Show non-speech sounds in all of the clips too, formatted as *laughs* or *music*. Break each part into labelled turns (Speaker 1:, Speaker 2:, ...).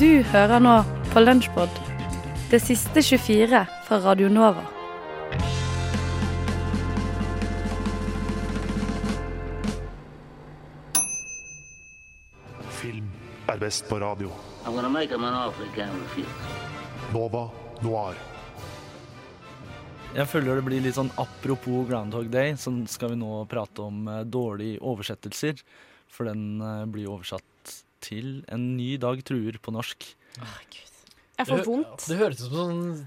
Speaker 1: Du hører nå på Lunsjpod, det siste 24 fra Radio Nova.
Speaker 2: Film er best på radio.
Speaker 3: I'm gonna make him an offer he can't refuse.
Speaker 2: Nova Noir.
Speaker 4: Jeg føler det blir litt sånn apropos Groundhog Day, så skal vi nå prate om eh, dårlige oversettelser. For den eh, blir oversatt til 'En ny dag truer' på norsk.
Speaker 5: Jeg
Speaker 6: Det
Speaker 5: får
Speaker 6: hø-
Speaker 5: vondt.
Speaker 6: Det høres ut som sånn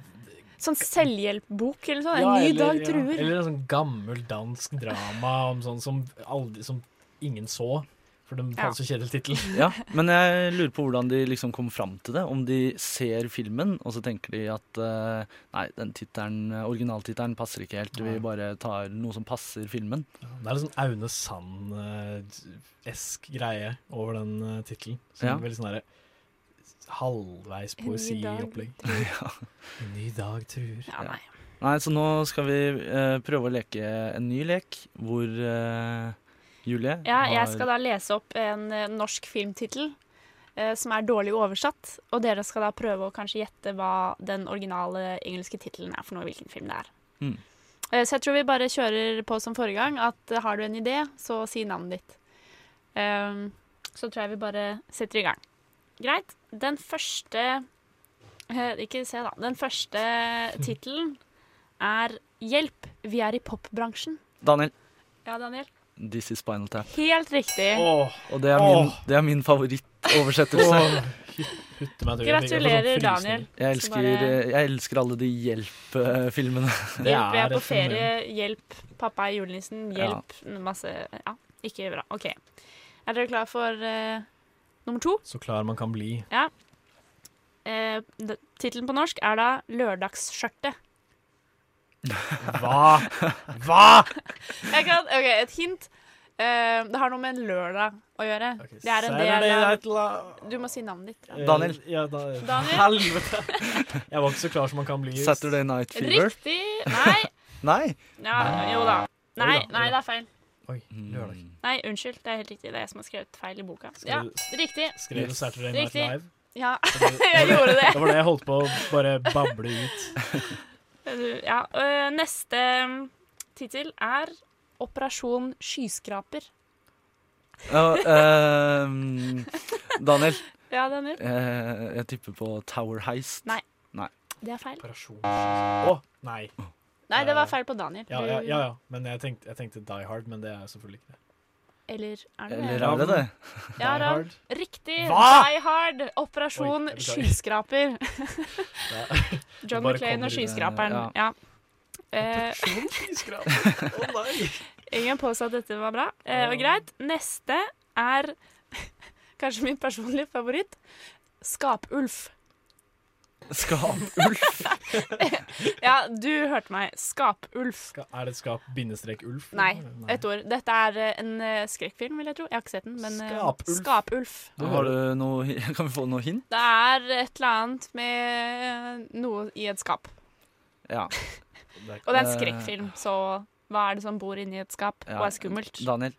Speaker 5: Sånn selvhjelpbok eller sånn. En
Speaker 6: ja,
Speaker 5: ny
Speaker 6: eller-
Speaker 5: dag
Speaker 6: ja,
Speaker 5: truer.
Speaker 6: Eller en sånn gammel dansk drama om sånn som, aldri, som ingen så. For den
Speaker 5: Ja.
Speaker 6: fant så kjedelig tittel.
Speaker 4: *laughs* Ja, Men jeg lurer på hvordan de liksom kom fram til det. Om de ser filmen, og så tenker de at eh, nei, den tittelen, eh, originaltittelen passer ikke helt. Vi bare tar noe som passer filmen.
Speaker 6: Det er litt sånn Aune Sand-esk greie over den uh, tittelen. Som
Speaker 4: Ja.
Speaker 6: er veldig sånn derre halvveis
Speaker 5: En ny dag
Speaker 6: poesiopplegg.
Speaker 4: *laughs*
Speaker 5: truer.
Speaker 6: En ny dag truer.
Speaker 5: Ja, nei.
Speaker 4: Nei, så nå skal vi eh, prøve å leke en ny lek hvor eh, Julie
Speaker 5: Ja, jeg
Speaker 4: har-
Speaker 5: skal da lese opp en eh, norsk filmtittel eh, som er dårlig oversatt, og dere skal da prøve å kanskje gjette hva den originale engelske tittelen er for noe, hvilken film det er.
Speaker 4: Mm.
Speaker 5: Eh, Så jeg tror vi bare kjører på som forrige gang, at eh, har du en idé, så si navnet ditt. Ehm, så tror jeg vi bare setter i gang. Greit. Den første eh, Ikke se, da. Den første
Speaker 4: *laughs*
Speaker 5: tittelen er 'Hjelp, vi er i popbransjen'.
Speaker 4: Daniel,
Speaker 5: Ja, Daniel?
Speaker 4: this is Spinal Tap.
Speaker 5: Helt riktig.
Speaker 6: Åh,
Speaker 4: Og det er min,
Speaker 6: Åh.
Speaker 4: det er min favorittoversettelse.
Speaker 6: åh, hyt- hytte meg, du. Jeg fikk- jeg får sånn
Speaker 5: Gratulerer,
Speaker 6: frysninger.
Speaker 5: Daniel.
Speaker 4: Jeg
Speaker 5: Så
Speaker 4: elsker, eh,
Speaker 5: bare-
Speaker 4: jeg elsker alle de hjelp-filmene.
Speaker 6: Det
Speaker 5: Hjelp, vi er på
Speaker 6: et fenomen.
Speaker 5: ferie. Hjelp, pappa er julenissen. Hjelp, masse Ja, ikke bra. OK. Er dere klar for eh, nummer to?
Speaker 6: Så klar man kan bli.
Speaker 5: Uh, Tittelen på norsk er da 'Lørdagsskjørtet'.
Speaker 6: Hva? Hva?
Speaker 5: Jeg kan, ok, Et hint. Eh, det har noe med en lørdag å gjøre. Det er en del av Du må si navnet ditt. Ralf.
Speaker 4: Daniel.
Speaker 6: Eh, Ja, da,
Speaker 5: Daniel.
Speaker 6: *laughs* Helvete. Jeg var ikke så klar som man kan bli.
Speaker 4: Saturday Night Fever.
Speaker 5: Riktig. Nei.
Speaker 4: Nei!
Speaker 5: Ja, jo da. Nei,
Speaker 6: Oi da,
Speaker 5: nei,
Speaker 6: oi
Speaker 5: det
Speaker 6: da.
Speaker 5: er feil.
Speaker 6: Oi,
Speaker 4: Mm.
Speaker 6: lørdag.
Speaker 5: Nei, unnskyld. Det er helt riktig. Det er jeg som har skrevet feil i boka.
Speaker 6: Skal
Speaker 5: Ja,
Speaker 6: du-
Speaker 5: Riktig.
Speaker 6: Skrev du
Speaker 4: Yes.
Speaker 6: Saturday Night
Speaker 5: Riktig.
Speaker 6: Live?
Speaker 5: Ja, *laughs*
Speaker 6: *laughs* Det
Speaker 5: jeg gjorde det.
Speaker 6: var det jeg holdt på å bare bable ut.
Speaker 5: Du, *laughs* Ja, øh, neste mm, tittel er Operasjon skyskraper.
Speaker 4: Ja, ehm, Daniel,
Speaker 5: Ja, Daniel.
Speaker 4: eh, jeg tipper på Tower Heist.
Speaker 5: Nei. Det er feil.
Speaker 6: Operasjon Å, nei.
Speaker 5: Nei, det var feil på Daniel.
Speaker 6: Ja, ja,
Speaker 5: Du-
Speaker 6: ja. ja. Men jeg tenkte, jeg tenkte Die Hard, men det er selvfølgelig ikke det.
Speaker 5: Eller er det
Speaker 4: Eller
Speaker 5: det?
Speaker 4: er det det?
Speaker 5: Ja,
Speaker 6: Die
Speaker 5: da.
Speaker 6: Hard.
Speaker 5: Riktig.
Speaker 6: Hva?
Speaker 5: Die Hard. Operasjon
Speaker 6: Oi, jeg beklager.
Speaker 5: skyskraper.
Speaker 6: Ja.
Speaker 5: *laughs* John
Speaker 6: bare
Speaker 5: McClane
Speaker 6: kommer ut,
Speaker 5: og
Speaker 6: eh,
Speaker 5: skyskraperen. Ja. Eh,
Speaker 6: Operasjon skyskraper. Å nei.
Speaker 5: *laughs* ingen påstod at dette var bra. Eh, og greit. Neste er *laughs* kanskje min personlige favoritt. Skapulf. *laughs*
Speaker 4: Skapulf.
Speaker 5: Ja, du hørte meg. Skapulf.
Speaker 6: Ska- *laughs* Er det skap bindestrek ulf?
Speaker 5: Nei, ett ord. Dette er eh, en eh, skrekkfilm, vil jeg tro. Jeg har ikke sett den, men eh,
Speaker 6: Skapulf.
Speaker 5: Skapulf.
Speaker 4: Har du noe, hi- *laughs* kan vi få noe hint?
Speaker 5: Det er et eller annet med eh, noe i et skap.
Speaker 4: Ja.
Speaker 5: Og det er en
Speaker 4: Eh.
Speaker 5: skrekkfilm, så hva er det som bor inni et skap
Speaker 4: ja.
Speaker 5: og er skummelt?
Speaker 4: Daniel,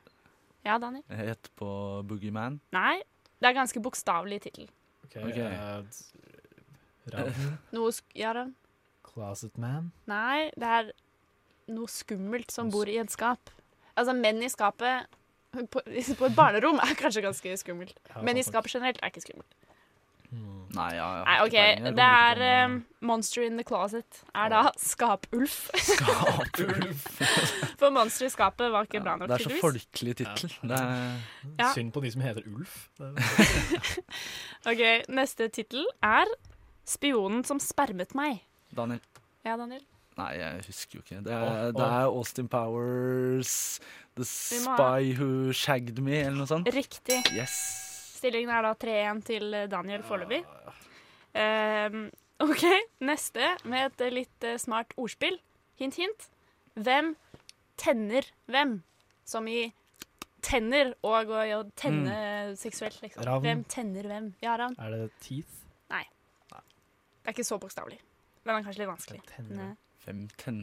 Speaker 5: Ja, Daniel?
Speaker 4: jeg gjetter på Boogeyman.
Speaker 5: Nei. Det er ganske bokstavelig tittel.
Speaker 6: Ok,
Speaker 4: Ok.
Speaker 6: eh, Ravn.
Speaker 5: Noe sk ja, Ravn?
Speaker 6: Closet Man.
Speaker 5: Nei, det er noe skummelt som bor i et skap. Altså, menn i skapet på, *laughs* på et barnerom er kanskje ganske skummelt.
Speaker 6: Ja,
Speaker 5: Men i
Speaker 6: sant nok.
Speaker 5: skapet generelt er ikke skummelt.
Speaker 6: Mm.
Speaker 4: Nei, ja, jeg
Speaker 5: Nei,
Speaker 4: har
Speaker 5: OK.
Speaker 4: ikke peiling. Jeg
Speaker 5: Det
Speaker 4: roer
Speaker 5: er
Speaker 4: ikke på
Speaker 5: um,
Speaker 4: meg.
Speaker 5: Monster in the Closet. Er da Skapulf.
Speaker 4: Skapulf.
Speaker 5: *laughs* For Monster i skapet var ikke bra
Speaker 4: Ja,
Speaker 5: nok,
Speaker 4: det er så
Speaker 5: tydeligvis.
Speaker 4: folkelig tittel. Det er
Speaker 5: Ja.
Speaker 6: Synd på de som heter Ulf.
Speaker 5: OK, neste tittel er Spionen som spermet meg.
Speaker 4: Daniel.
Speaker 5: Ja, Daniel?
Speaker 4: Nei, jeg husker jo ikke. Det er,
Speaker 6: Åh,
Speaker 4: det er Austin Powers, The
Speaker 5: Vi må ha-
Speaker 4: Spy Who Shagged Me, eller noe sånt.
Speaker 5: Riktig.
Speaker 4: Yes.
Speaker 5: Stillingen er da 3-1 til Daniel foreløpig.
Speaker 6: Ah.
Speaker 5: Um, OK, neste med et litt eh, smart ordspill. Hint, hint. Hvem tenner hvem? Som i tenner og å å tenne seksuelt, liksom.
Speaker 6: Mm. Ravn.
Speaker 5: Hvem tenner hvem? Ja, Ravn.
Speaker 6: Er det Teeth?
Speaker 5: Det er ikke så bokstavelig. Den er kanskje litt vanskelig.
Speaker 6: Tenner.
Speaker 5: Nei.
Speaker 4: Fem, ten...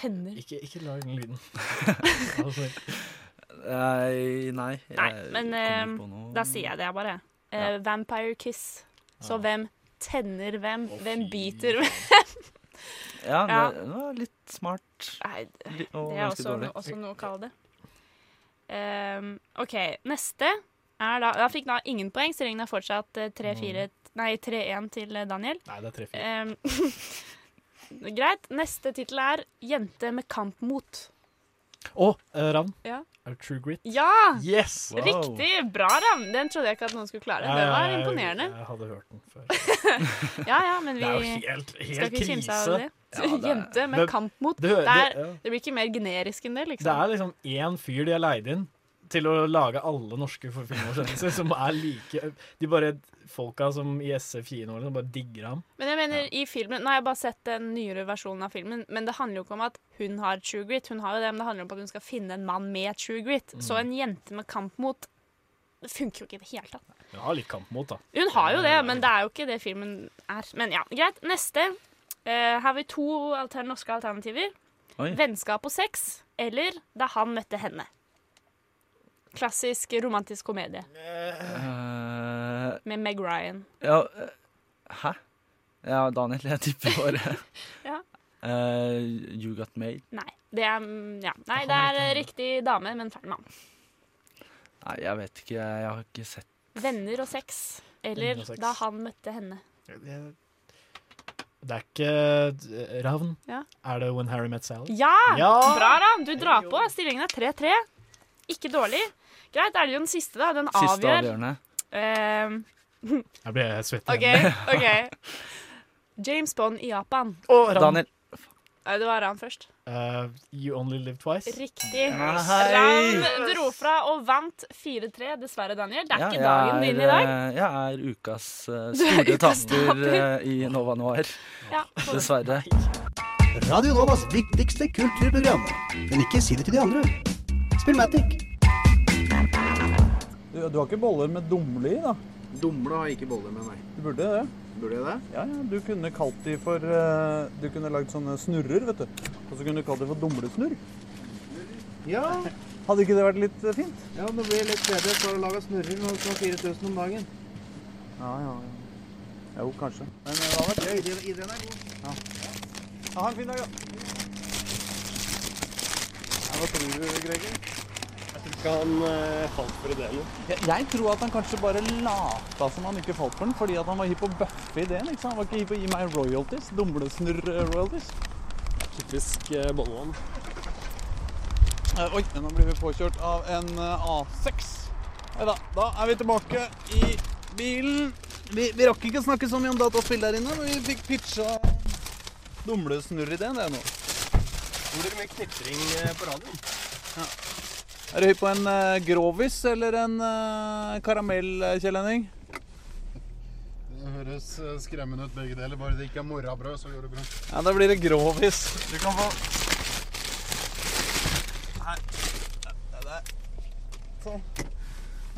Speaker 5: Tenner.
Speaker 6: Ikke, ikke lag den
Speaker 4: *laughs*
Speaker 6: lyden. Altså,
Speaker 4: Nei, nei.
Speaker 5: Nei, men,
Speaker 4: kommer
Speaker 5: eh,
Speaker 4: på noe.
Speaker 5: Da eh, ehm, sier jeg det, jeg bare. eh, Vampire Kiss. Så
Speaker 6: Ja.
Speaker 5: hvem tenner hvem?
Speaker 6: Å,
Speaker 5: hvem
Speaker 6: fy
Speaker 5: biter hvem?
Speaker 4: Ja,
Speaker 5: Ja.
Speaker 4: Det, det var litt smart
Speaker 5: Nei,
Speaker 4: li- og
Speaker 5: det er
Speaker 4: ganske
Speaker 5: også,
Speaker 4: dårlig.
Speaker 5: også noe å kalle det. Ehm, OK, neste er da Da fikk da ingen poeng, så regnet er fortsatt eh, 3-4 Nei, 3-1 til eh, Daniel.
Speaker 6: Nei, det er tre-fire.
Speaker 5: Ehm, *laughs* greit. Neste tittel er 'Jente med kampmot'.
Speaker 6: Å, eh, Ravn.
Speaker 5: Ja.
Speaker 6: Our True Grit.
Speaker 5: Ja!
Speaker 6: Yes!
Speaker 4: Wow.
Speaker 5: Riktig! Bra, Ravn. Den trodde jeg ikke at noen skulle klare.
Speaker 6: Ja,
Speaker 5: Det
Speaker 6: ja,
Speaker 5: var
Speaker 6: jeg-
Speaker 5: imponerende.
Speaker 6: Jeg hadde hørt den før.
Speaker 5: Ja, ja, men
Speaker 6: Det er jo
Speaker 5: vi
Speaker 6: helt,
Speaker 5: skal
Speaker 6: helt
Speaker 5: ikke kimse av
Speaker 6: krise.
Speaker 5: det. *laughs* Jente med
Speaker 6: Men-
Speaker 5: kampmot.
Speaker 6: Det, hø-
Speaker 5: Det er-
Speaker 6: det, ja.
Speaker 5: Det blir ikke mer generisk enn det,
Speaker 6: det
Speaker 5: liksom.
Speaker 6: er liksom én fyr de har leid inn til å lage alle norske filmoversettelser som er like De bare Folka som i SF-kinoene som bare digger ham.
Speaker 5: Men jeg mener, i filmen Nå har jeg bare sett den nyere versjonen av filmen, men det handler jo ikke om at hun har true grit. Hun har jo det, men det handler om at hun skal finne en mann med true grit.
Speaker 6: Mm.
Speaker 5: Så en jente med kampmot det funker jo ikke i det hele tatt.
Speaker 6: Hun har litt kampmot, da.
Speaker 5: Hun har jo det, men det er jo ikke det filmen er. Men ja, greit. Neste. Eh, her har vi to altern norske alternativer.
Speaker 4: Oi.
Speaker 5: Vennskap og sex, eller Da han møtte henne. Klassisk romantisk komedie
Speaker 4: Eh,
Speaker 5: med Meg Ryan.
Speaker 4: ja, eh, hæ? Ja, Daniel, jeg tipper bare
Speaker 5: *laughs* Ja.
Speaker 4: Eh, You Got Made.
Speaker 5: Nei, det er, mm, ja. Nei, det er eh, riktig dame, men feil mann.
Speaker 4: Nei, jeg vet ikke. Jeg har ikke sett
Speaker 5: Venner og sex, eller
Speaker 6: Venner og sex.
Speaker 5: Da han møtte henne.
Speaker 6: Det er ikke eh, Ravn.
Speaker 5: Ja.
Speaker 6: Er det When Harry Met Sally?
Speaker 5: Ja!
Speaker 6: Ja!
Speaker 5: Bra, Ram! Du drar på. Stillingen er 3-3. Ikke dårlig. Greit, da er det jo den siste, da. Den
Speaker 4: siste
Speaker 5: avgjør.
Speaker 4: avgjørende.
Speaker 5: Ehm, *laughs*
Speaker 6: Jeg ble svett
Speaker 5: OK.
Speaker 6: igjen.
Speaker 5: *laughs* ok
Speaker 6: *laughs*
Speaker 5: James Bond i Japan.
Speaker 6: Å, Ravn.
Speaker 4: Daniel.
Speaker 5: Nei, Det var Ran først.
Speaker 6: Eh, you Only Live Twice.
Speaker 5: Riktig.
Speaker 4: Hei.
Speaker 5: Ran dro fra og vant 4-3. Dessverre, Daniel. Det er ikke
Speaker 4: Ja,
Speaker 5: dagen
Speaker 4: jeg
Speaker 5: din
Speaker 4: er,
Speaker 5: i dag.
Speaker 4: eh, Jeg er ukas eh,
Speaker 5: Du er
Speaker 4: store
Speaker 5: ukas
Speaker 4: taper
Speaker 5: taper.
Speaker 4: eh, i Nova Noir,
Speaker 5: Ja,
Speaker 4: dessverre.
Speaker 7: Radio Novas viktigste kulturprogram. Men ikke si det til de andre. Spillmatic.
Speaker 8: Du, du har ikke boller med dumle i, da?
Speaker 9: Dumle har ikke boller med, nei.
Speaker 8: Du burde det.
Speaker 9: Burde jeg det?
Speaker 8: Ja, ja. Du kunne kalt de for eh, Du kunne lagd sånne snurrer, vet du. Og så kunne du kalt de for dumlesnurr.
Speaker 9: Ja,
Speaker 8: Hadde ikke det vært litt eh, fint?
Speaker 9: ja det blir litt bedre for å lage snurrer når du har 4000 om dagen.
Speaker 8: Ja, ja, ja. Jo, kanskje. Men eh, hva vet jeg?
Speaker 9: Ideen, ideen er god.
Speaker 8: Ja, Ha en fin dag, da. Ja, hva tror du, Greger? eh, Jeg tror ikke han falt for ideen. Jeg, tror at han kanskje bare lata som han ikke falt for den, fordi at han var hypp på å bøffe ideen. ikke sant? Han var ikke hypp på å gi meg royalties. eh, Dumlesnurr-royalties.
Speaker 10: Typisk eh, Bollemann.
Speaker 8: Eh, Oi, nå blir vi påkjørt av en eh, A6. Nei da, da er vi tilbake i bilen. Vi, vi rakk ikke å snakke så mye om dataspill der inne, men vi fikk pitcha dumlesnurr-ideen, det nå.
Speaker 10: Hvor mye knitring eh, på radioen?
Speaker 8: Er du hypp på en eh, grovis eller en eh, karamell, eh, Kjell Henning?
Speaker 9: Det høres eh, skremmende ut begge deler. Bare det ikke er morrabrød, så går det bra.
Speaker 8: Ja, da blir det grovis. Du kan få Her. Der, der. Sånn.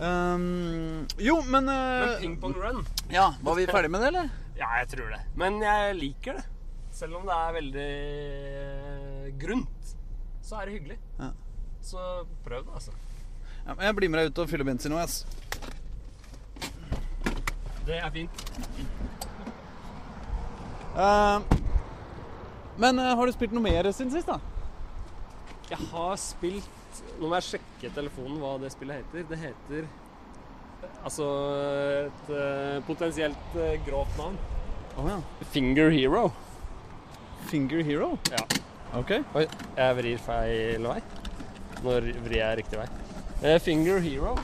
Speaker 8: Ehm, jo, men, eh,
Speaker 10: Men ping pong run?
Speaker 8: Ja, Var vi ferdige med det, eller?
Speaker 10: Ja, jeg tror det. Men jeg liker det. Selv om det er veldig eh, grunt, så er det hyggelig.
Speaker 8: Ja.
Speaker 10: Så prøv det, altså.
Speaker 8: Ja, men jeg blir med deg ut og fyller bensin nå, ass.
Speaker 10: Det er fint.
Speaker 8: Eh, men eh, har du spilt noe mer siden sist, da?
Speaker 10: Jeg har spilt Nå må jeg sjekke telefonen hva det spillet heter. Det heter Altså et eh, potensielt eh, grovt navn.
Speaker 8: Å ja.
Speaker 10: Finger Hero.
Speaker 8: Finger Hero?
Speaker 10: Ja.
Speaker 8: Ok.
Speaker 10: Oi, jeg vrir feil vei. Nå vrir jeg riktig vei. Eh, Finger Hero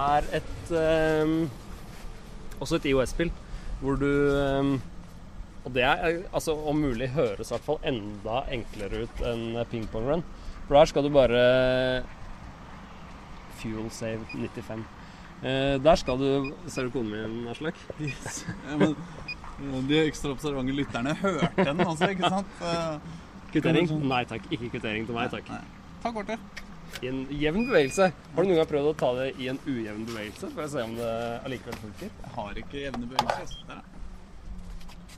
Speaker 10: er et ehm, også et IOS-spill hvor du ehm, Og det er eh, altså om mulig høres i hvert fall enda enklere ut enn ping pong run. For der skal du bare Fuel save 95. Eh, der skal du Ser du konen min, Aslak?
Speaker 8: Ja, men, eh, de ekstra observante lytterne hørte den også, ikke
Speaker 10: *laughs*
Speaker 8: sant? Eh,
Speaker 10: Kvittering? Nei takk. Ikke kvittering til meg, takk.
Speaker 8: ta kortet.
Speaker 10: i en jevn bevegelse. Har du noen gang prøvd å ta det i en ujevn bevegelse for å se om det allikevel funker?
Speaker 8: Jeg har ikke jevne bevegelser. ass. Der, ja.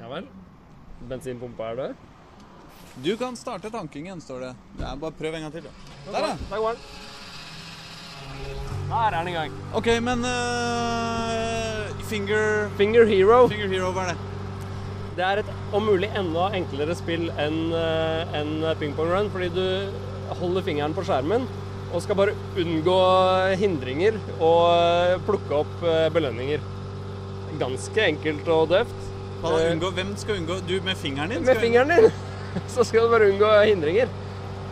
Speaker 10: Ja vel. Bensinpumpa er død.
Speaker 8: Du kan starte tankingen, står det. Ja, bare prøv en gang til, da. Der, ja.
Speaker 10: Der går den. Der er den i gang.
Speaker 8: OK, uh, men eh, Finger
Speaker 10: Finger Hero.
Speaker 8: Finger Hero, hva er det?
Speaker 10: Det er et om mulig enda enklere spill enn eh, enn Ping Pong Run, fordi du holder fingeren på skjermen og skal bare unngå hindringer og eh, plukke opp eh, belønninger. Ganske enkelt og døvt.
Speaker 8: Hva da,
Speaker 10: Eh,
Speaker 8: unngå? Hvem skal unngå? Du med fingeren din?
Speaker 10: Med
Speaker 8: skal-
Speaker 10: fingeren din *laughs* så skal du bare unngå hindringer.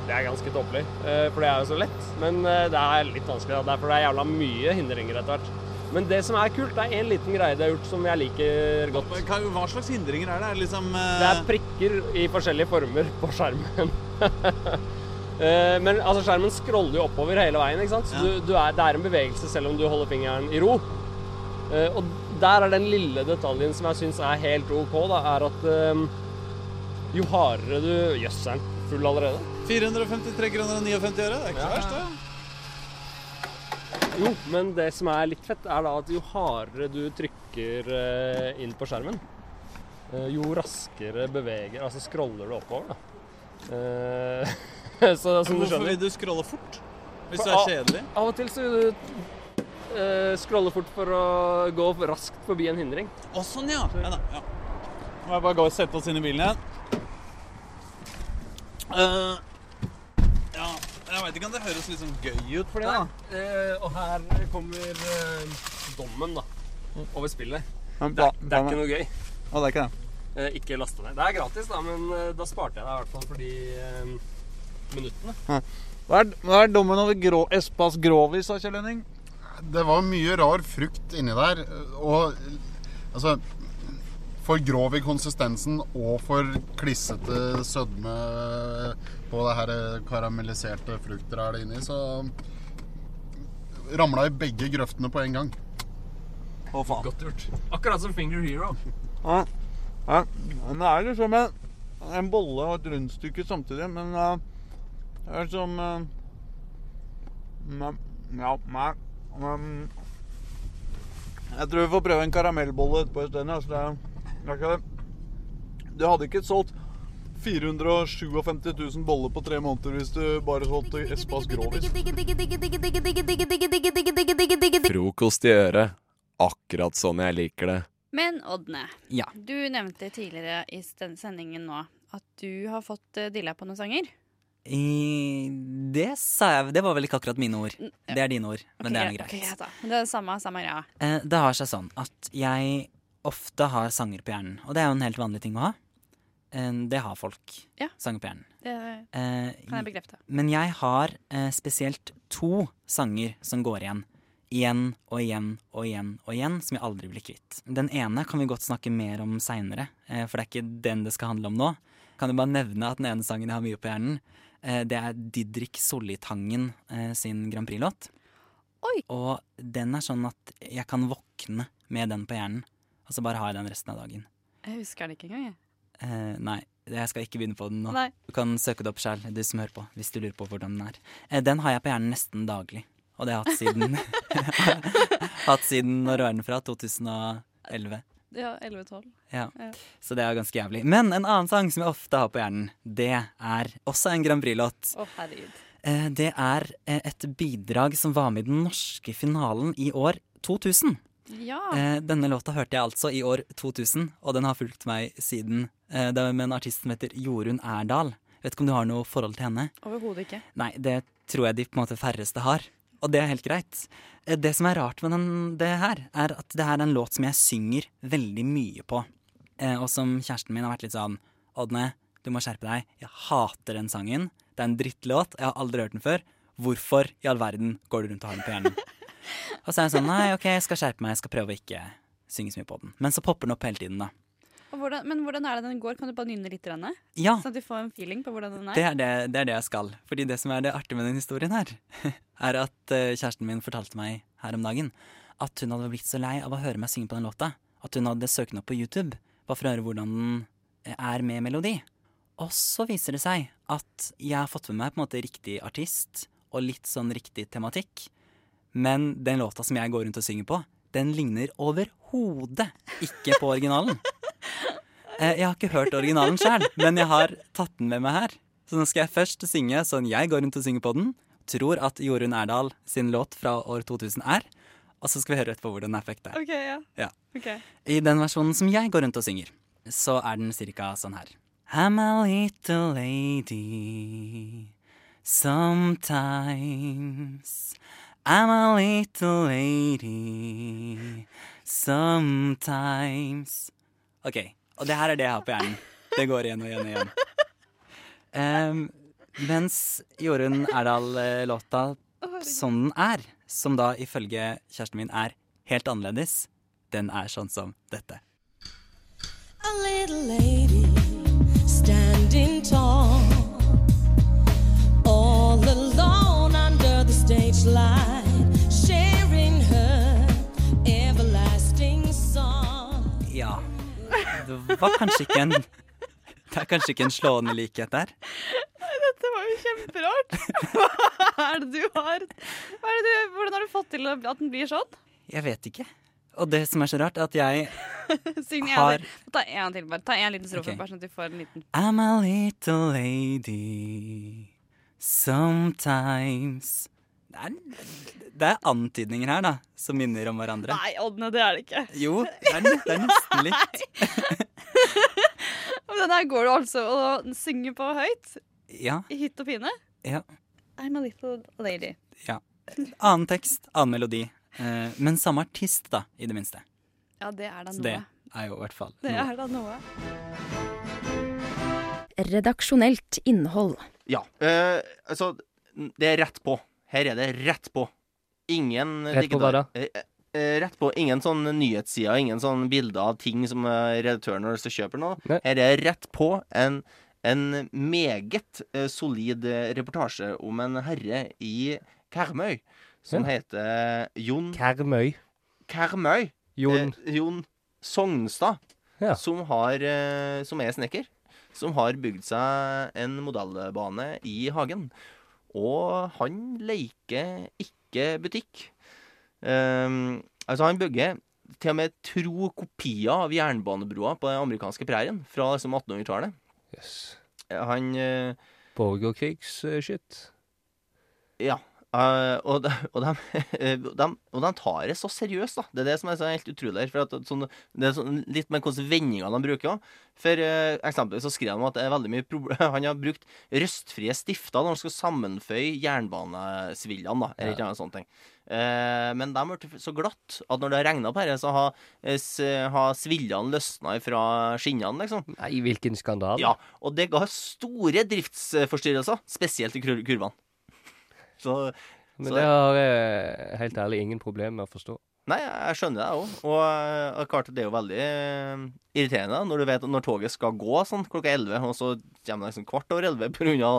Speaker 10: Det er ganske tåpelig, eh, for det er jo så lett. Men eh, det er litt vanskelig, da. derfor det er jævla mye hindringer etter hvert. Men det som er kult, det er en liten greie de har gjort som jeg liker godt.
Speaker 8: Hva hva slags hindringer er det? Er det liksom eh,
Speaker 10: Det er prikker i forskjellige former på skjermen. *laughs* Eh, Men altså, skjermen scroller jo oppover hele veien, ikke sant? så
Speaker 8: Ja.
Speaker 10: du, du er, det er en bevegelse selv om du holder fingeren i ro. Eh, Og der er den lille detaljen som jeg syns er helt OK, da, er at eh, jo hardere du Jøss, er den full allerede?
Speaker 8: 453 kroner og 59 øre? Det er ikke så verst, det.
Speaker 10: Jo, men det som er litt fett, er da at jo hardere du trykker eh, inn på skjermen, eh, jo raskere beveger Altså scroller du oppover, da. Eh, *laughs* så som du
Speaker 8: Hvorfor
Speaker 10: skjønner
Speaker 8: vil du scrolle fort? Hvis
Speaker 10: For-
Speaker 8: du er kjedelig?
Speaker 10: Av og til så vil du eh, scrolle fort for å gå raskt forbi en hindring.
Speaker 8: Å, sånn, ja. ja, da, ja. Nå må jeg bare gå og sette oss inn i bilen igjen. Eh, ja, jeg veit ikke om det høres litt sånn gøy ut for det, da.
Speaker 10: Eh, og her kommer eh, dommen, da. Over spillet.
Speaker 8: Men
Speaker 10: Det er, det er ikke noe gøy.
Speaker 8: Å, det er ikke det.
Speaker 10: Eh, ikke laste ned. Det er gratis, da, men eh, da sparte jeg deg i hvert fall for de eh, minuttene.
Speaker 8: Hva er, hva er dommen over grå, Espas Grovis, da, Kjell Henning?
Speaker 9: Det var mye rar frukt inni der. eh, Og altså For grov i konsistensen og for klissete sødme på det her eh, karamelliserte fruktrælet inni, så ramla i begge grøftene på en gang.
Speaker 8: Å, faen.
Speaker 10: Godt gjort. Akkurat som Finger Hero.
Speaker 8: Men det er liksom en, en bolle og et rundstykke samtidig, men eh, det er som eh, men- Ja, nei. men- jeg tror vi får prøve en karamellbolle etterpå isteden. Altså det, er- det er ikke det. Du hadde ikke solgt 457 000 boller på tre måneder hvis du bare solgte Espas Grovis.
Speaker 11: Frokost i øret. Akkurat sånn jeg liker det.
Speaker 12: Men Ådne,
Speaker 11: Ja.
Speaker 12: du nevnte tidligere i den sendingen nå at du har fått eh, dilla på noen sanger.
Speaker 13: I, det sa jeg Det var vel ikke akkurat mine ord. Det er dine ord, men det er nå greit.
Speaker 12: Ok, greit da. Men det er det samme, samme greia.
Speaker 13: Eh, Det har seg sånn at jeg ofte har sanger på hjernen, og det er jo en helt vanlig ting å ha. Eh, Det har folk.
Speaker 12: Ja.
Speaker 13: Sanger på hjernen.
Speaker 12: Det
Speaker 13: Eh,
Speaker 12: kan jeg bekrefte.
Speaker 13: Men jeg har eh, spesielt to sanger som går igjen. Igjen og igjen og igjen og igjen, som jeg aldri blir kvitt. Den ene kan vi godt snakke mer om seinere, eh, for det er ikke den det skal handle om nå. Kan jo bare nevne at den ene sangen jeg har mye på hjernen, eh, det er Didrik Sollitangen eh, sin Grand Prix-låt. Og den er sånn at jeg kan våkne med den på hjernen, og så bare har jeg den resten av dagen.
Speaker 12: Jeg husker det ikke engang. jeg.
Speaker 13: Eh, nei, jeg skal ikke begynne på den nå.
Speaker 12: Nei.
Speaker 13: Du kan søke det opp sjøl, du som hører på, hvis du lurer på hvordan den er. Eh, den har jeg på hjernen nesten daglig, og det har jeg hatt siden *laughs* Hatt siden når var den fra? 2011.
Speaker 12: Ja, 11-12.
Speaker 13: Ja.
Speaker 12: Ja.
Speaker 13: Så det er ganske jævlig. Men en annen sang som jeg ofte har på hjernen, det er også en Grand Prix-låt.
Speaker 12: Å, herregud.
Speaker 13: Eh, Det er eh, et bidrag som var med i den norske finalen i år 2000.
Speaker 12: Ja.
Speaker 13: Eh, Denne låta hørte jeg altså i år 2000, og den har fulgt meg siden. Eh, Det er med en artist som heter Jorunn Erdal. Vet ikke om du har noe forhold til henne?
Speaker 12: Overhodet ikke.
Speaker 13: Nei, det tror jeg de på en måte færreste har. Og det er helt greit. Eh, Det som er rart med den, det her, er at det her er en låt som jeg synger veldig mye på. Eh, og som kjæresten min har vært litt sånn Ådne, du må skjerpe deg. Jeg hater den sangen. Det er en drittlåt. Jeg har aldri hørt den før. Hvorfor i all verden går du rundt og har den på hjernen? og så er jeg sånn nei, OK, jeg skal skjerpe meg. Jeg skal prøve å ikke synge så mye på den. Men så popper den opp hele tiden, da.
Speaker 12: Og hvordan, men hvordan er det den går? Kan du bare nynne litt? Renne?
Speaker 13: Ja.
Speaker 12: Sånn at vi får en feeling på hvordan den er?
Speaker 13: Det er det, det er det jeg skal. Fordi det som er det artige med den historien her, *laughs* er at eh, kjæresten min fortalte meg her om dagen at hun hadde blitt så lei av å høre meg synge på den låta at hun hadde søkt den opp på YouTube bare for å høre hvordan den eh, er med melodi. Og så viser det seg at jeg har fått med meg på en måte riktig artist og litt sånn riktig tematikk. Men den låta som jeg går rundt og synger på, den ligner overhodet ikke på originalen. Eh, Jeg har ikke hørt originalen sjøl, men jeg har tatt den med meg her. Så nå skal jeg først synge sånn jeg går rundt og synger på den. tror at Jorunn Erdal sin låt fra år 2000 er. Og så skal vi høre etterpå hvor den er fekta.
Speaker 12: OK, ja.
Speaker 13: Ja.
Speaker 12: Ok.
Speaker 13: I den versjonen som jeg går rundt og synger, så er den cirka sånn her. I'm a little lady sometimes. I'm a little lady sometimes. OK. Og det her er det jeg har på hjernen. Det går igjen og igjen og igjen. Em, mens Jorunn Erdal-låta som den er, som da ifølge kjæresten min er helt annerledes, den er sånn som dette.
Speaker 14: A little lady standing tall, all alone under the stage light, sharing her everlasting song.
Speaker 13: Ja. Det var kanskje ikke en Det er kanskje ikke en slående likhet der.
Speaker 12: Dette var jo kjemperart. *laughs* Hva er det du har Hva er det du, Hvordan har du fått til at den blir sånn? *laughs*
Speaker 13: Jeg vet ikke. Og det som er så rart, er at jeg
Speaker 12: Syng
Speaker 13: Har-
Speaker 12: igjen. Ta en til, bare. Ta en liten strofe,
Speaker 13: Ok.
Speaker 12: bare sånn at du får en liten
Speaker 13: I'm a little lady sometimes Det er, det er antydninger her, da, som minner om hverandre.
Speaker 12: Nei, Ådne, det er det ikke.
Speaker 13: Jo,
Speaker 12: *laughs*
Speaker 13: det er, det er nesten litt.
Speaker 12: Og den her går du altså og synger på høyt.
Speaker 13: Ja.
Speaker 12: I hytt og pine.
Speaker 13: ja.
Speaker 12: I'm a little lady.
Speaker 13: Ja. Annen tekst, annen melodi. Eh, men samme artist, da, i det minste.
Speaker 12: Ja, det er da
Speaker 13: Så
Speaker 12: noe.
Speaker 13: det er jo i hvert fall
Speaker 12: Det
Speaker 13: noe.
Speaker 12: er da noe.
Speaker 15: Redaksjonelt innhold.
Speaker 16: Ja. eh, altså, det er rett på. Her er det rett på. Ingen
Speaker 10: Rett på
Speaker 16: digital-
Speaker 10: hva da?
Speaker 16: Eh, eh, Rett på. Ingen sånn nyhetssider, ingen sånn bilder av ting som eh, redaktøren har lyst til å kjøpe nå. Her er rett på en, en meget eh, solid eh, reportasje om en herre i Karmøy som
Speaker 10: Ja.
Speaker 16: heter Jon
Speaker 10: Karmøy.
Speaker 16: Karmøy.
Speaker 10: Jon.
Speaker 16: Eh, Jon Sognstad. Som, har, eh, som er snekker. Som har bygd seg en modellbane i hagen. Og han leker ikke butikk. Ehm, altså, han bygger til og med tro kopier av jernbanebrua på den amerikanske prærien fra liksom 1800-tallet. Eh, Han eh,
Speaker 10: Borgerkrigsshit.
Speaker 16: Ja. eh, og, de, og, de, de, og de tar det så seriøst, da. Det er det som er så helt utrolig. her, For at, sånn, det er sånn, litt med hvilke vendinger de bruker. også. For eh, eksempel så skrev han at det er veldig mye proble- *laughs* han har brukt røstfrie stifter når han skal sammenføye jernbanesvillene. da, eller ikke
Speaker 10: Ja.
Speaker 16: noe sånt ting. Eh, men de ble så glatt at når det har regna på dette, så har, eh, s- har svillene løsna fra skinnene, liksom.
Speaker 10: Nei, hvilken skandale.
Speaker 16: Ja, og det ga store driftsforstyrrelser, spesielt i kur- kurvene. Så,
Speaker 10: Men
Speaker 16: så
Speaker 10: det har jeg helt ærlig ingen problemer med å forstå.
Speaker 16: Nei, jeg skjønner det, jeg òg. Og eh, klart at det er jo veldig eh, irriterende når du vet at når toget skal gå sånn klokka 11, og så kommer det liksom kvart over 11 pga.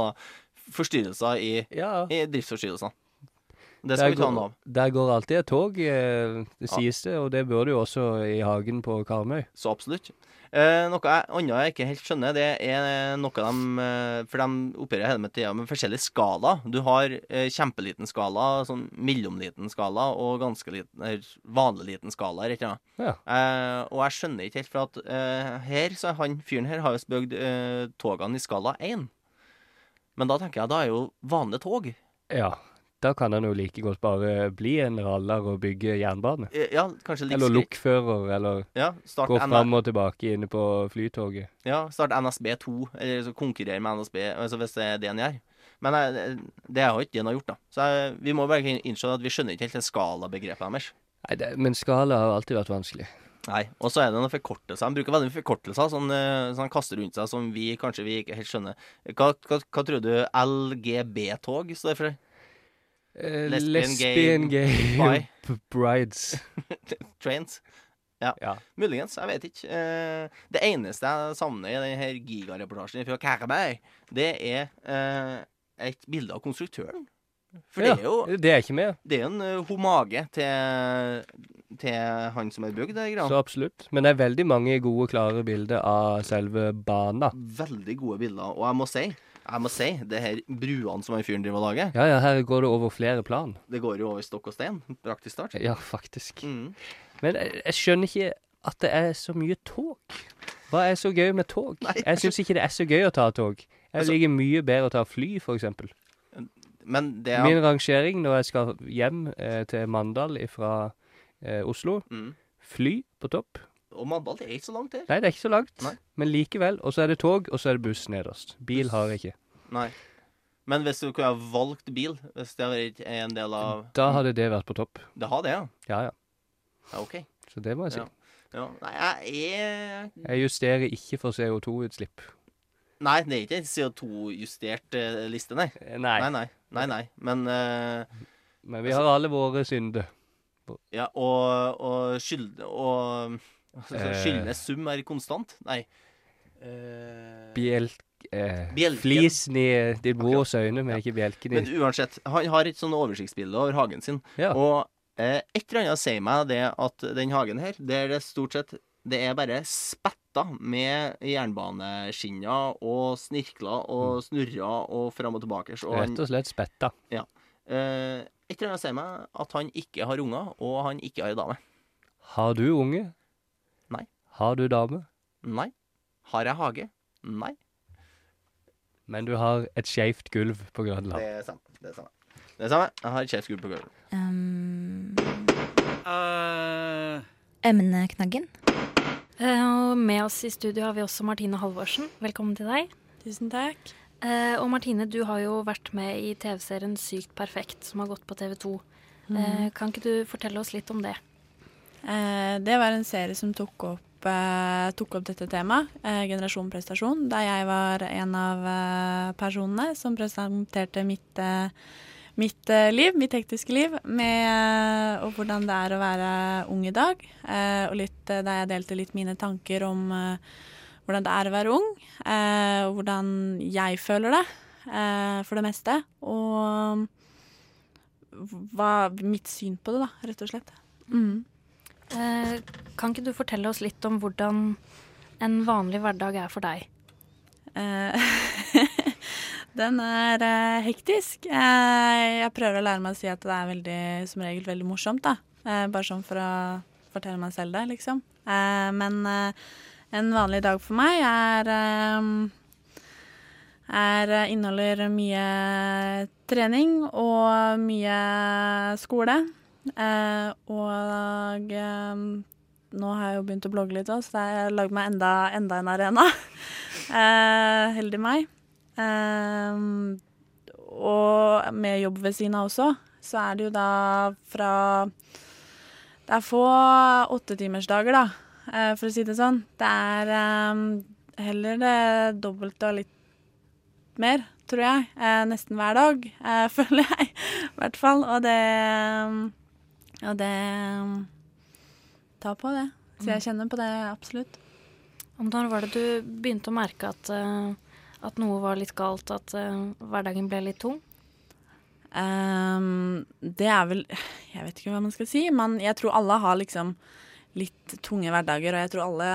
Speaker 16: forstyrrelser i, i driftsforstyrrelsene. Det skal vi
Speaker 10: Der
Speaker 16: ta
Speaker 10: går-
Speaker 16: noe av.
Speaker 10: Der går alltid et tog, eh, det sies det, og det burde jo også i hagen på Karmøy.
Speaker 16: Så absolutt. Eh, noe jeg- annet jeg ikke helt skjønner, det er noe de eh, For de opererer hele tida med forskjellige skalaer. Du har eh, kjempeliten skala, sånn mellomliten skala og ganske liten, eller vanlig liten skala. eller et eller annet.
Speaker 10: Ja.
Speaker 16: Eh, og jeg skjønner ikke helt, for at eh, her, så er han fyren her har jo spøkt eh, togene i skala 1. Men da tenker jeg da er jo vanlige tog.
Speaker 10: Ja, da kan han jo like godt bare bli en raller og bygge jernbane.
Speaker 16: Eh, ja, kanskje like
Speaker 10: Eller
Speaker 16: skri-
Speaker 10: lokfører, eller
Speaker 16: Ja, start
Speaker 10: gå
Speaker 16: NR.
Speaker 10: fram og tilbake inne på flytoget.
Speaker 16: Ja, start NSB2, eller så konkurrere med NSB, altså hvis det er det en gjør. Men eh, det er jo ikke det en har gjort, da. Så jeg, vi må bare innse at vi skjønner ikke helt det skalabegrepet deres.
Speaker 10: Nei, det, men skala har alltid vært vanskelig.
Speaker 16: Nei, Og så er det noen forkortelser. Han bruker veldig mye forkortelser som sånn, han kaster rundt seg, som vi kanskje vi ikke helt skjønner. Hva, hva, hva tror du LGB-tog står for?
Speaker 10: Eh, lesbian, gay,
Speaker 16: bi,
Speaker 10: *laughs* b- brides.
Speaker 16: *laughs* trains? Ja. muligens. Jeg vet ikke. Eh, det eneste jeg savner i denne her gigareportasjen fra Kærberg, det er eh, et bilde av konstruktøren. For
Speaker 10: Ja,
Speaker 16: det er jo
Speaker 10: det er ikke med.
Speaker 16: Det er jo en eh, homage til, til han som har bygd det greia.
Speaker 10: Så absolutt. Men det er veldig mange gode, klare bilder av selve bana.
Speaker 16: Veldig gode bilder. Og jeg må si, jeg må si, det her bruene som han fyren driver og lager,
Speaker 10: Ja, ja, her går det over flere plan.
Speaker 16: det går jo over stokk og stein. Praktisk talt.
Speaker 10: Ja, faktisk.
Speaker 16: Mm.
Speaker 10: Men jeg, jeg skjønner ikke at det er så mye tog. Hva er så gøy med tog? jeg syns ikke det er så gøy å ta tog. Jeg
Speaker 16: Altså-
Speaker 10: liker mye bedre å ta fly, for eksempel.
Speaker 16: Men det han-
Speaker 17: Min rangering når jeg skal hjem eh, til Mandal fra eh, Oslo
Speaker 16: Mm.
Speaker 17: Fly på topp.
Speaker 16: Og Mandal det er ikke så langt, det.
Speaker 17: Nei, det er ikke så langt,
Speaker 16: Nei.
Speaker 17: men likevel. Og så er det tog, og så er det buss nederst. Bil har jeg ikke.
Speaker 16: Nei. Men hvis du kunne ha valgt bil, hvis det vært en del av
Speaker 17: Da hadde det vært på topp.
Speaker 16: Det har det, ja?
Speaker 17: Ja, ja.
Speaker 16: Ja, OK.
Speaker 17: Så det må jeg si.
Speaker 16: Ja. Ja. Nei, jeg er
Speaker 17: Jeg justerer ikke for CO2-utslipp.
Speaker 16: Nei, det er ikke en CO2-justert eh, liste, nei.
Speaker 17: Nei.
Speaker 16: Nei, nei. nei, nei. Men eh,
Speaker 17: Men vi har alle våre synder.
Speaker 16: Ja, og, og skyld... Og altså,
Speaker 17: Eh.
Speaker 16: skyldnes sum er konstant? Nei.
Speaker 17: Bjelk... Eh,
Speaker 16: Bjelken.
Speaker 17: flisen i de brås øyne, men ikke bjelken i
Speaker 16: Men uansett, han har et sånn oversiktsbilde over hagen sin. Og eh, et eller annet sier meg det at den hagen her, der det stort sett det er bare spetta med jernbaneskinner og snirkler og snurrer og fram og tilbake. Og han-
Speaker 17: Mm. Rett og slett spetta.
Speaker 16: Ja. Eh, et eller annet sier meg at han ikke har unger, og han ikke har ei dame.
Speaker 17: Har du unge?
Speaker 16: Nei.
Speaker 17: Har du dame?
Speaker 16: Nei. Har jeg hage? Nei.
Speaker 17: Men du har et skeivt gulv på Grønland.
Speaker 16: Det er samme. Det er samme. Det er samme. Jeg har kjeftskudd på gulvet.
Speaker 18: Emneknaggen.
Speaker 19: Eh, Og med oss i studio har vi også Martine Halvorsen. Velkommen til deg. Tusen takk. Og Martine, du har jo vært med i TV-serien Sykt perfekt, som har gått på TV 2.
Speaker 18: Mhm.
Speaker 19: Kan ikke du fortelle oss litt om det?
Speaker 18: Eh, det var en serie som tok opp, eh, tok opp dette temaet, eh, Generasjon prestasjon, der jeg var en av eh, personene som presenterte mitt, eh, mitt eh, liv, mitt hektiske liv, med, eh, og hvordan det er å være ung i dag. Eh, og litt, eh, der jeg delte litt mine tanker om eh, hvordan det er å være ung, eh, og hvordan jeg føler det, eh, for det meste. Og mm, hva, mitt syn på det, da, rett og slett. *laughs*
Speaker 19: Eh, Kan ikke du fortelle oss litt om hvordan en vanlig hverdag er for deg?
Speaker 18: Eh, *laughs* Den er eh, hektisk. Eh, jeg prøver å lære meg å si at det er veldig, som regel veldig morsomt, da. Eh, bare sånn for å fortelle meg selv det, liksom. Eh, men eh, en vanlig dag for meg er eh, er, eh, inneholder mye trening og mye skole. Eh, og eh, nå har jeg jo begynt å blogge litt òg, så jeg har lagd meg enda, enda en arena. *laughs* eh, heldig meg. Eh, og med jobb ved siden av også, så er det jo da fra det er få åttetimersdager, da, eh, for å si det sånn. Det er eh, heller det dobbelte og litt mer, tror jeg. Eh, nesten hver dag, eh, *laughs* føler jeg. I hvert fall. Og det eh, Og det tar på, det. Så
Speaker 19: Mm.
Speaker 18: jeg kjenner på det absolutt.
Speaker 19: Og Når var det du begynte å merke at, eh, at noe var litt galt, at eh, hverdagen ble litt tung?
Speaker 18: Ehm, det er vel Jeg vet ikke hva man skal si, men jeg tror alle har liksom litt tunge hverdager, og jeg tror alle,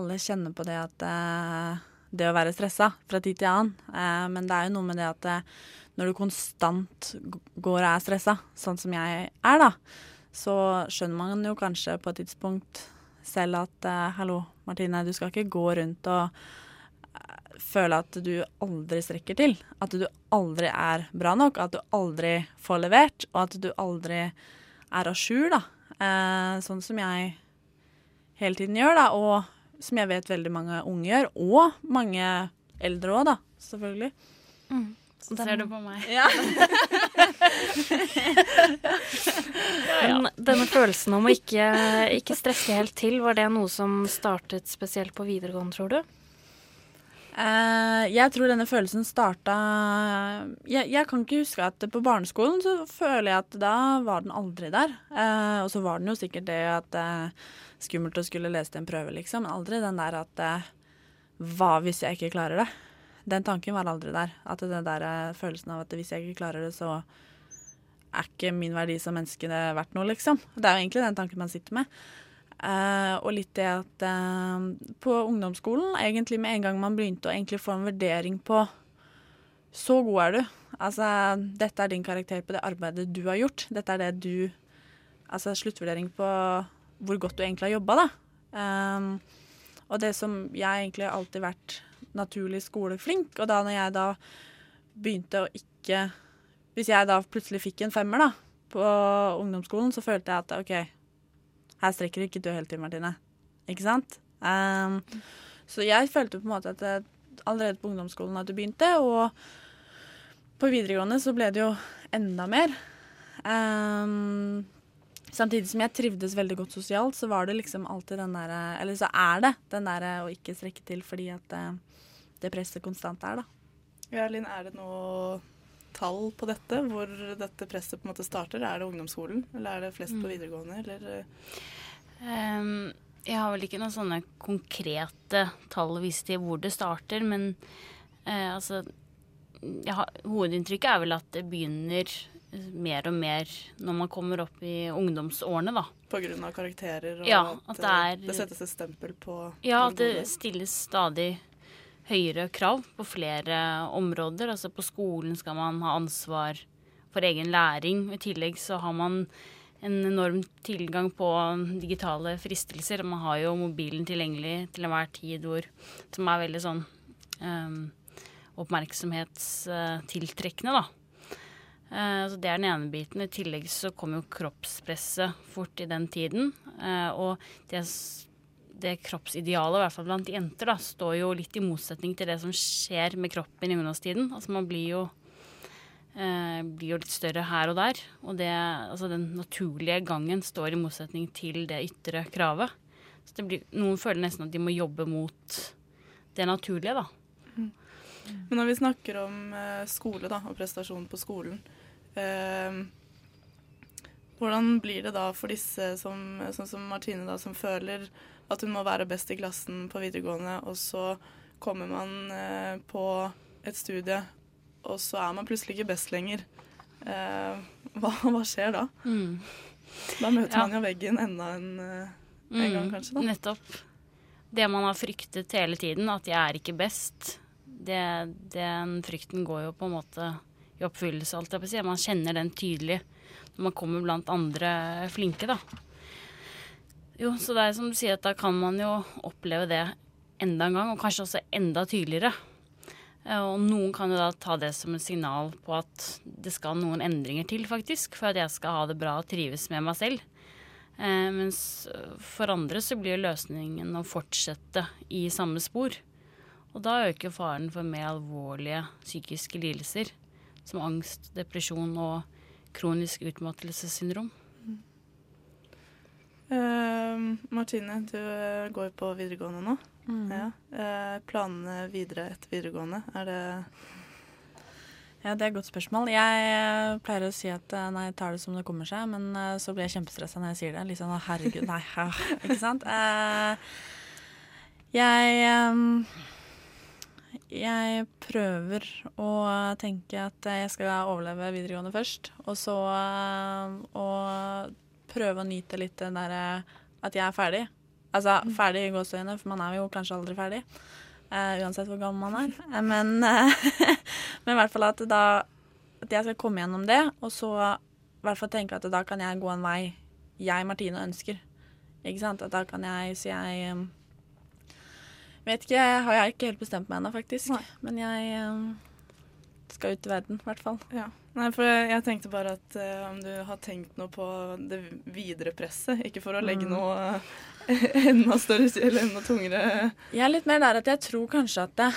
Speaker 18: alle kjenner på det at eh, det å være stressa fra tid til annen. Eh, men det er jo noe med det at eh, når du konstant g- går og er stressa, sånn som jeg er, da, så skjønner man jo kanskje på et tidspunkt selv at eh, hallo, Martine, du skal ikke gå rundt og føle at du aldri strekker til. At du aldri er bra nok, at du aldri får levert, og at du aldri er à jour, da. Eh, sånn som jeg hele tiden gjør, da, og som jeg vet veldig mange unge gjør, og mange eldre òg, da, selvfølgelig.
Speaker 5: Mm. Så ser du
Speaker 20: *laughs*
Speaker 5: på meg.
Speaker 18: Ja.
Speaker 19: Men denne følelsen om å ikke, ikke strekke helt til, var det noe som startet spesielt på videregående, tror du?
Speaker 18: Eh, jeg tror denne følelsen starta jeg, jeg kan ikke huske at på barneskolen så føler jeg at da var den aldri der. Eh, og så var den jo sikkert det at eh, skummelt å skulle lese til en prøve, liksom. Men aldri den der at eh, hva hvis jeg ikke klarer det? Den tanken var aldri der. At den der eh, følelsen av at hvis jeg ikke klarer det, så er ikke min verdi som menneske det verdt noe, liksom. Det er jo egentlig den tanken man sitter med. Eh, og litt det at eh, på ungdomsskolen, egentlig med en gang man begynte å egentlig få en vurdering på Så god er du. Altså, dette er din karakter på det arbeidet du har gjort. Dette er det du Altså sluttvurdering på hvor godt du egentlig har jobba, da. Eh, og det som jeg egentlig har alltid vært naturlig skoleflink, og da når jeg da begynte å ikke Hvis jeg da plutselig fikk en femmer da, på ungdomsskolen, så følte jeg at OK, her strekker ikke du helt til, Martine. Ikke sant? Ehm, så jeg følte på en måte at jeg, allerede på ungdomsskolen at du begynte, og på videregående så ble det jo enda mer. Ehm, samtidig som jeg trivdes veldig godt sosialt, så var det liksom alltid den derre Eller så er det den derre å ikke strekke til fordi at eh, det presset konstant er, da.
Speaker 21: Ja, Linn, er det noe tall på dette? Hvor dette presset på en måte starter? Er det ungdomsskolen, eller er det flest på
Speaker 20: Mm.
Speaker 21: videregående? Eller? eh,
Speaker 20: Ehm, jeg har vel ikke noen sånne konkrete tall å vise til hvor det starter, men eh, altså jeg har, Hovedinntrykket er vel at det begynner mer og mer når man kommer opp i ungdomsårene, da.
Speaker 21: På grunn av karakterer og
Speaker 20: Ja,
Speaker 21: at,
Speaker 20: at det
Speaker 21: eh,
Speaker 20: er-
Speaker 21: det settes et stempel på
Speaker 20: Ja, at
Speaker 21: ungdommer.
Speaker 20: det stilles stadig høyere krav på flere områder. Altså på skolen skal man ha ansvar for egen læring. I tillegg så har man en enorm tilgang på digitale fristelser. Man har jo mobilen tilgjengelig til enhver tid, hvor, som er veldig sånn ehm, oppmerksomhetstiltrekkende, da. Eh, Så det er den ene biten. I tillegg så kom jo kroppspresset fort i den tiden. Eh, Og det, s- det kroppsidealet, i hvert fall blant jenter, da, står jo litt i motsetning til det som skjer med kroppen i ungdomstiden. Altså man blir jo eh, blir jo litt større her og der. Og det, altså den naturlige gangen står i motsetning til det ytre kravet. Så det blir, noen føler nesten at de må jobbe mot det naturlige, da.
Speaker 21: Men når vi snakker om eh, skole da, og prestasjon på skolen, eh, hvordan blir det da for disse som, sånn som Martine, da, som føler at hun må være best i klassen på videregående, og så kommer man eh, på et studie, og så er man plutselig ikke best lenger. Eh, hva, *laughs* hva skjer da?
Speaker 20: Mm.
Speaker 21: Da møter
Speaker 20: Ja.
Speaker 21: man jo veggen enda en, eh, en gang,
Speaker 20: Mm,
Speaker 21: kanskje. da.
Speaker 20: Nettopp. Det man har fryktet hele tiden, at jeg er ikke best, det, den frykten går jo på en måte i oppfyllelse, alt jeg vil si. Man kjenner den tydelig når man kommer blant andre flinke, da. Jo, så det er som du sier, at da kan man jo oppleve det enda en gang, og kanskje også enda tydeligere. Eh, Og noen kan jo da ta det som et signal på at det skal noen endringer til, faktisk, for at jeg skal ha det bra og trives med meg selv. Eh, mens for andre så blir jo løsningen å fortsette i samme spor. Og da øker faren for mer alvorlige psykiske lidelser, som angst, depresjon og kronisk utmattelsessyndrom.
Speaker 21: Eh, Martine, du eh, går på videregående nå.
Speaker 18: Mm.
Speaker 21: Ja. Eh, planene videre etter videregående, er det
Speaker 18: Ja, Det er et godt spørsmål. Jeg eh, pleier å si at eh, nei, jeg tar det som det kommer seg, men eh, så blir jeg kjempestressa når jeg sier det. Litt sånn «Å, herregud, nei, hæ», ikke sant? Eh, Jeg eh, jeg prøver å tenke at jeg skal overleve videregående først, og så eh, å prøve å nyte litt den derre at jeg er ferdig. Altså ferdig i gåseøynene, for man er jo kanskje aldri ferdig. eh, uansett hvor gammel man er. Eh, Men eh, *laughs* men i hvert fall at, da, at jeg skal komme gjennom det, og så i hvert fall tenke at da kan jeg gå en vei jeg, Martine, ønsker. Ikke sant? At da kan jeg si jeg um, Vet ikke, jeg har jeg ikke helt bestemt meg ennå, faktisk. Men jeg um, skal ut i verden, i hvert fall.
Speaker 21: Ja. Nei, for jeg jeg tenkte bare at eh, om du har tenkt noe på det videre presset, ikke for å legge
Speaker 18: Mm.
Speaker 21: noe eh, *laughs* enda større eller enda tungere
Speaker 18: Jeg er litt mer der at jeg tror kanskje at det,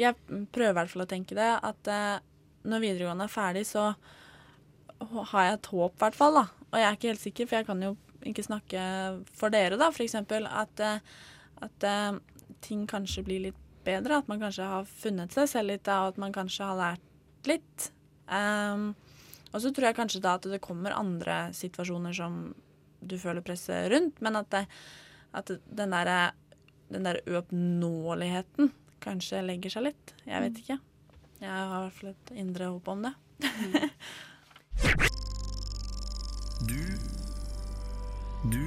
Speaker 18: Jeg prøver i hvert fall å tenke det. At eh, når videregående er ferdig, så h- har jeg et håp, i hvert fall. da. Og jeg er ikke helt sikker, for jeg kan jo ikke snakke for dere, da, f.eks. At, eh, at eh, ting kanskje blir litt bedre. At man kanskje har funnet seg selv litt, da, og at man kanskje har lært litt. Ehm, og så tror jeg kanskje da at det kommer andre situasjoner som du føler presset rundt, men at, det, at den derre den der uoppnåeligheten kanskje legger seg litt. Jeg vet ikke. Jeg har i hvert fall et indre håp om det. *laughs*
Speaker 22: Du Du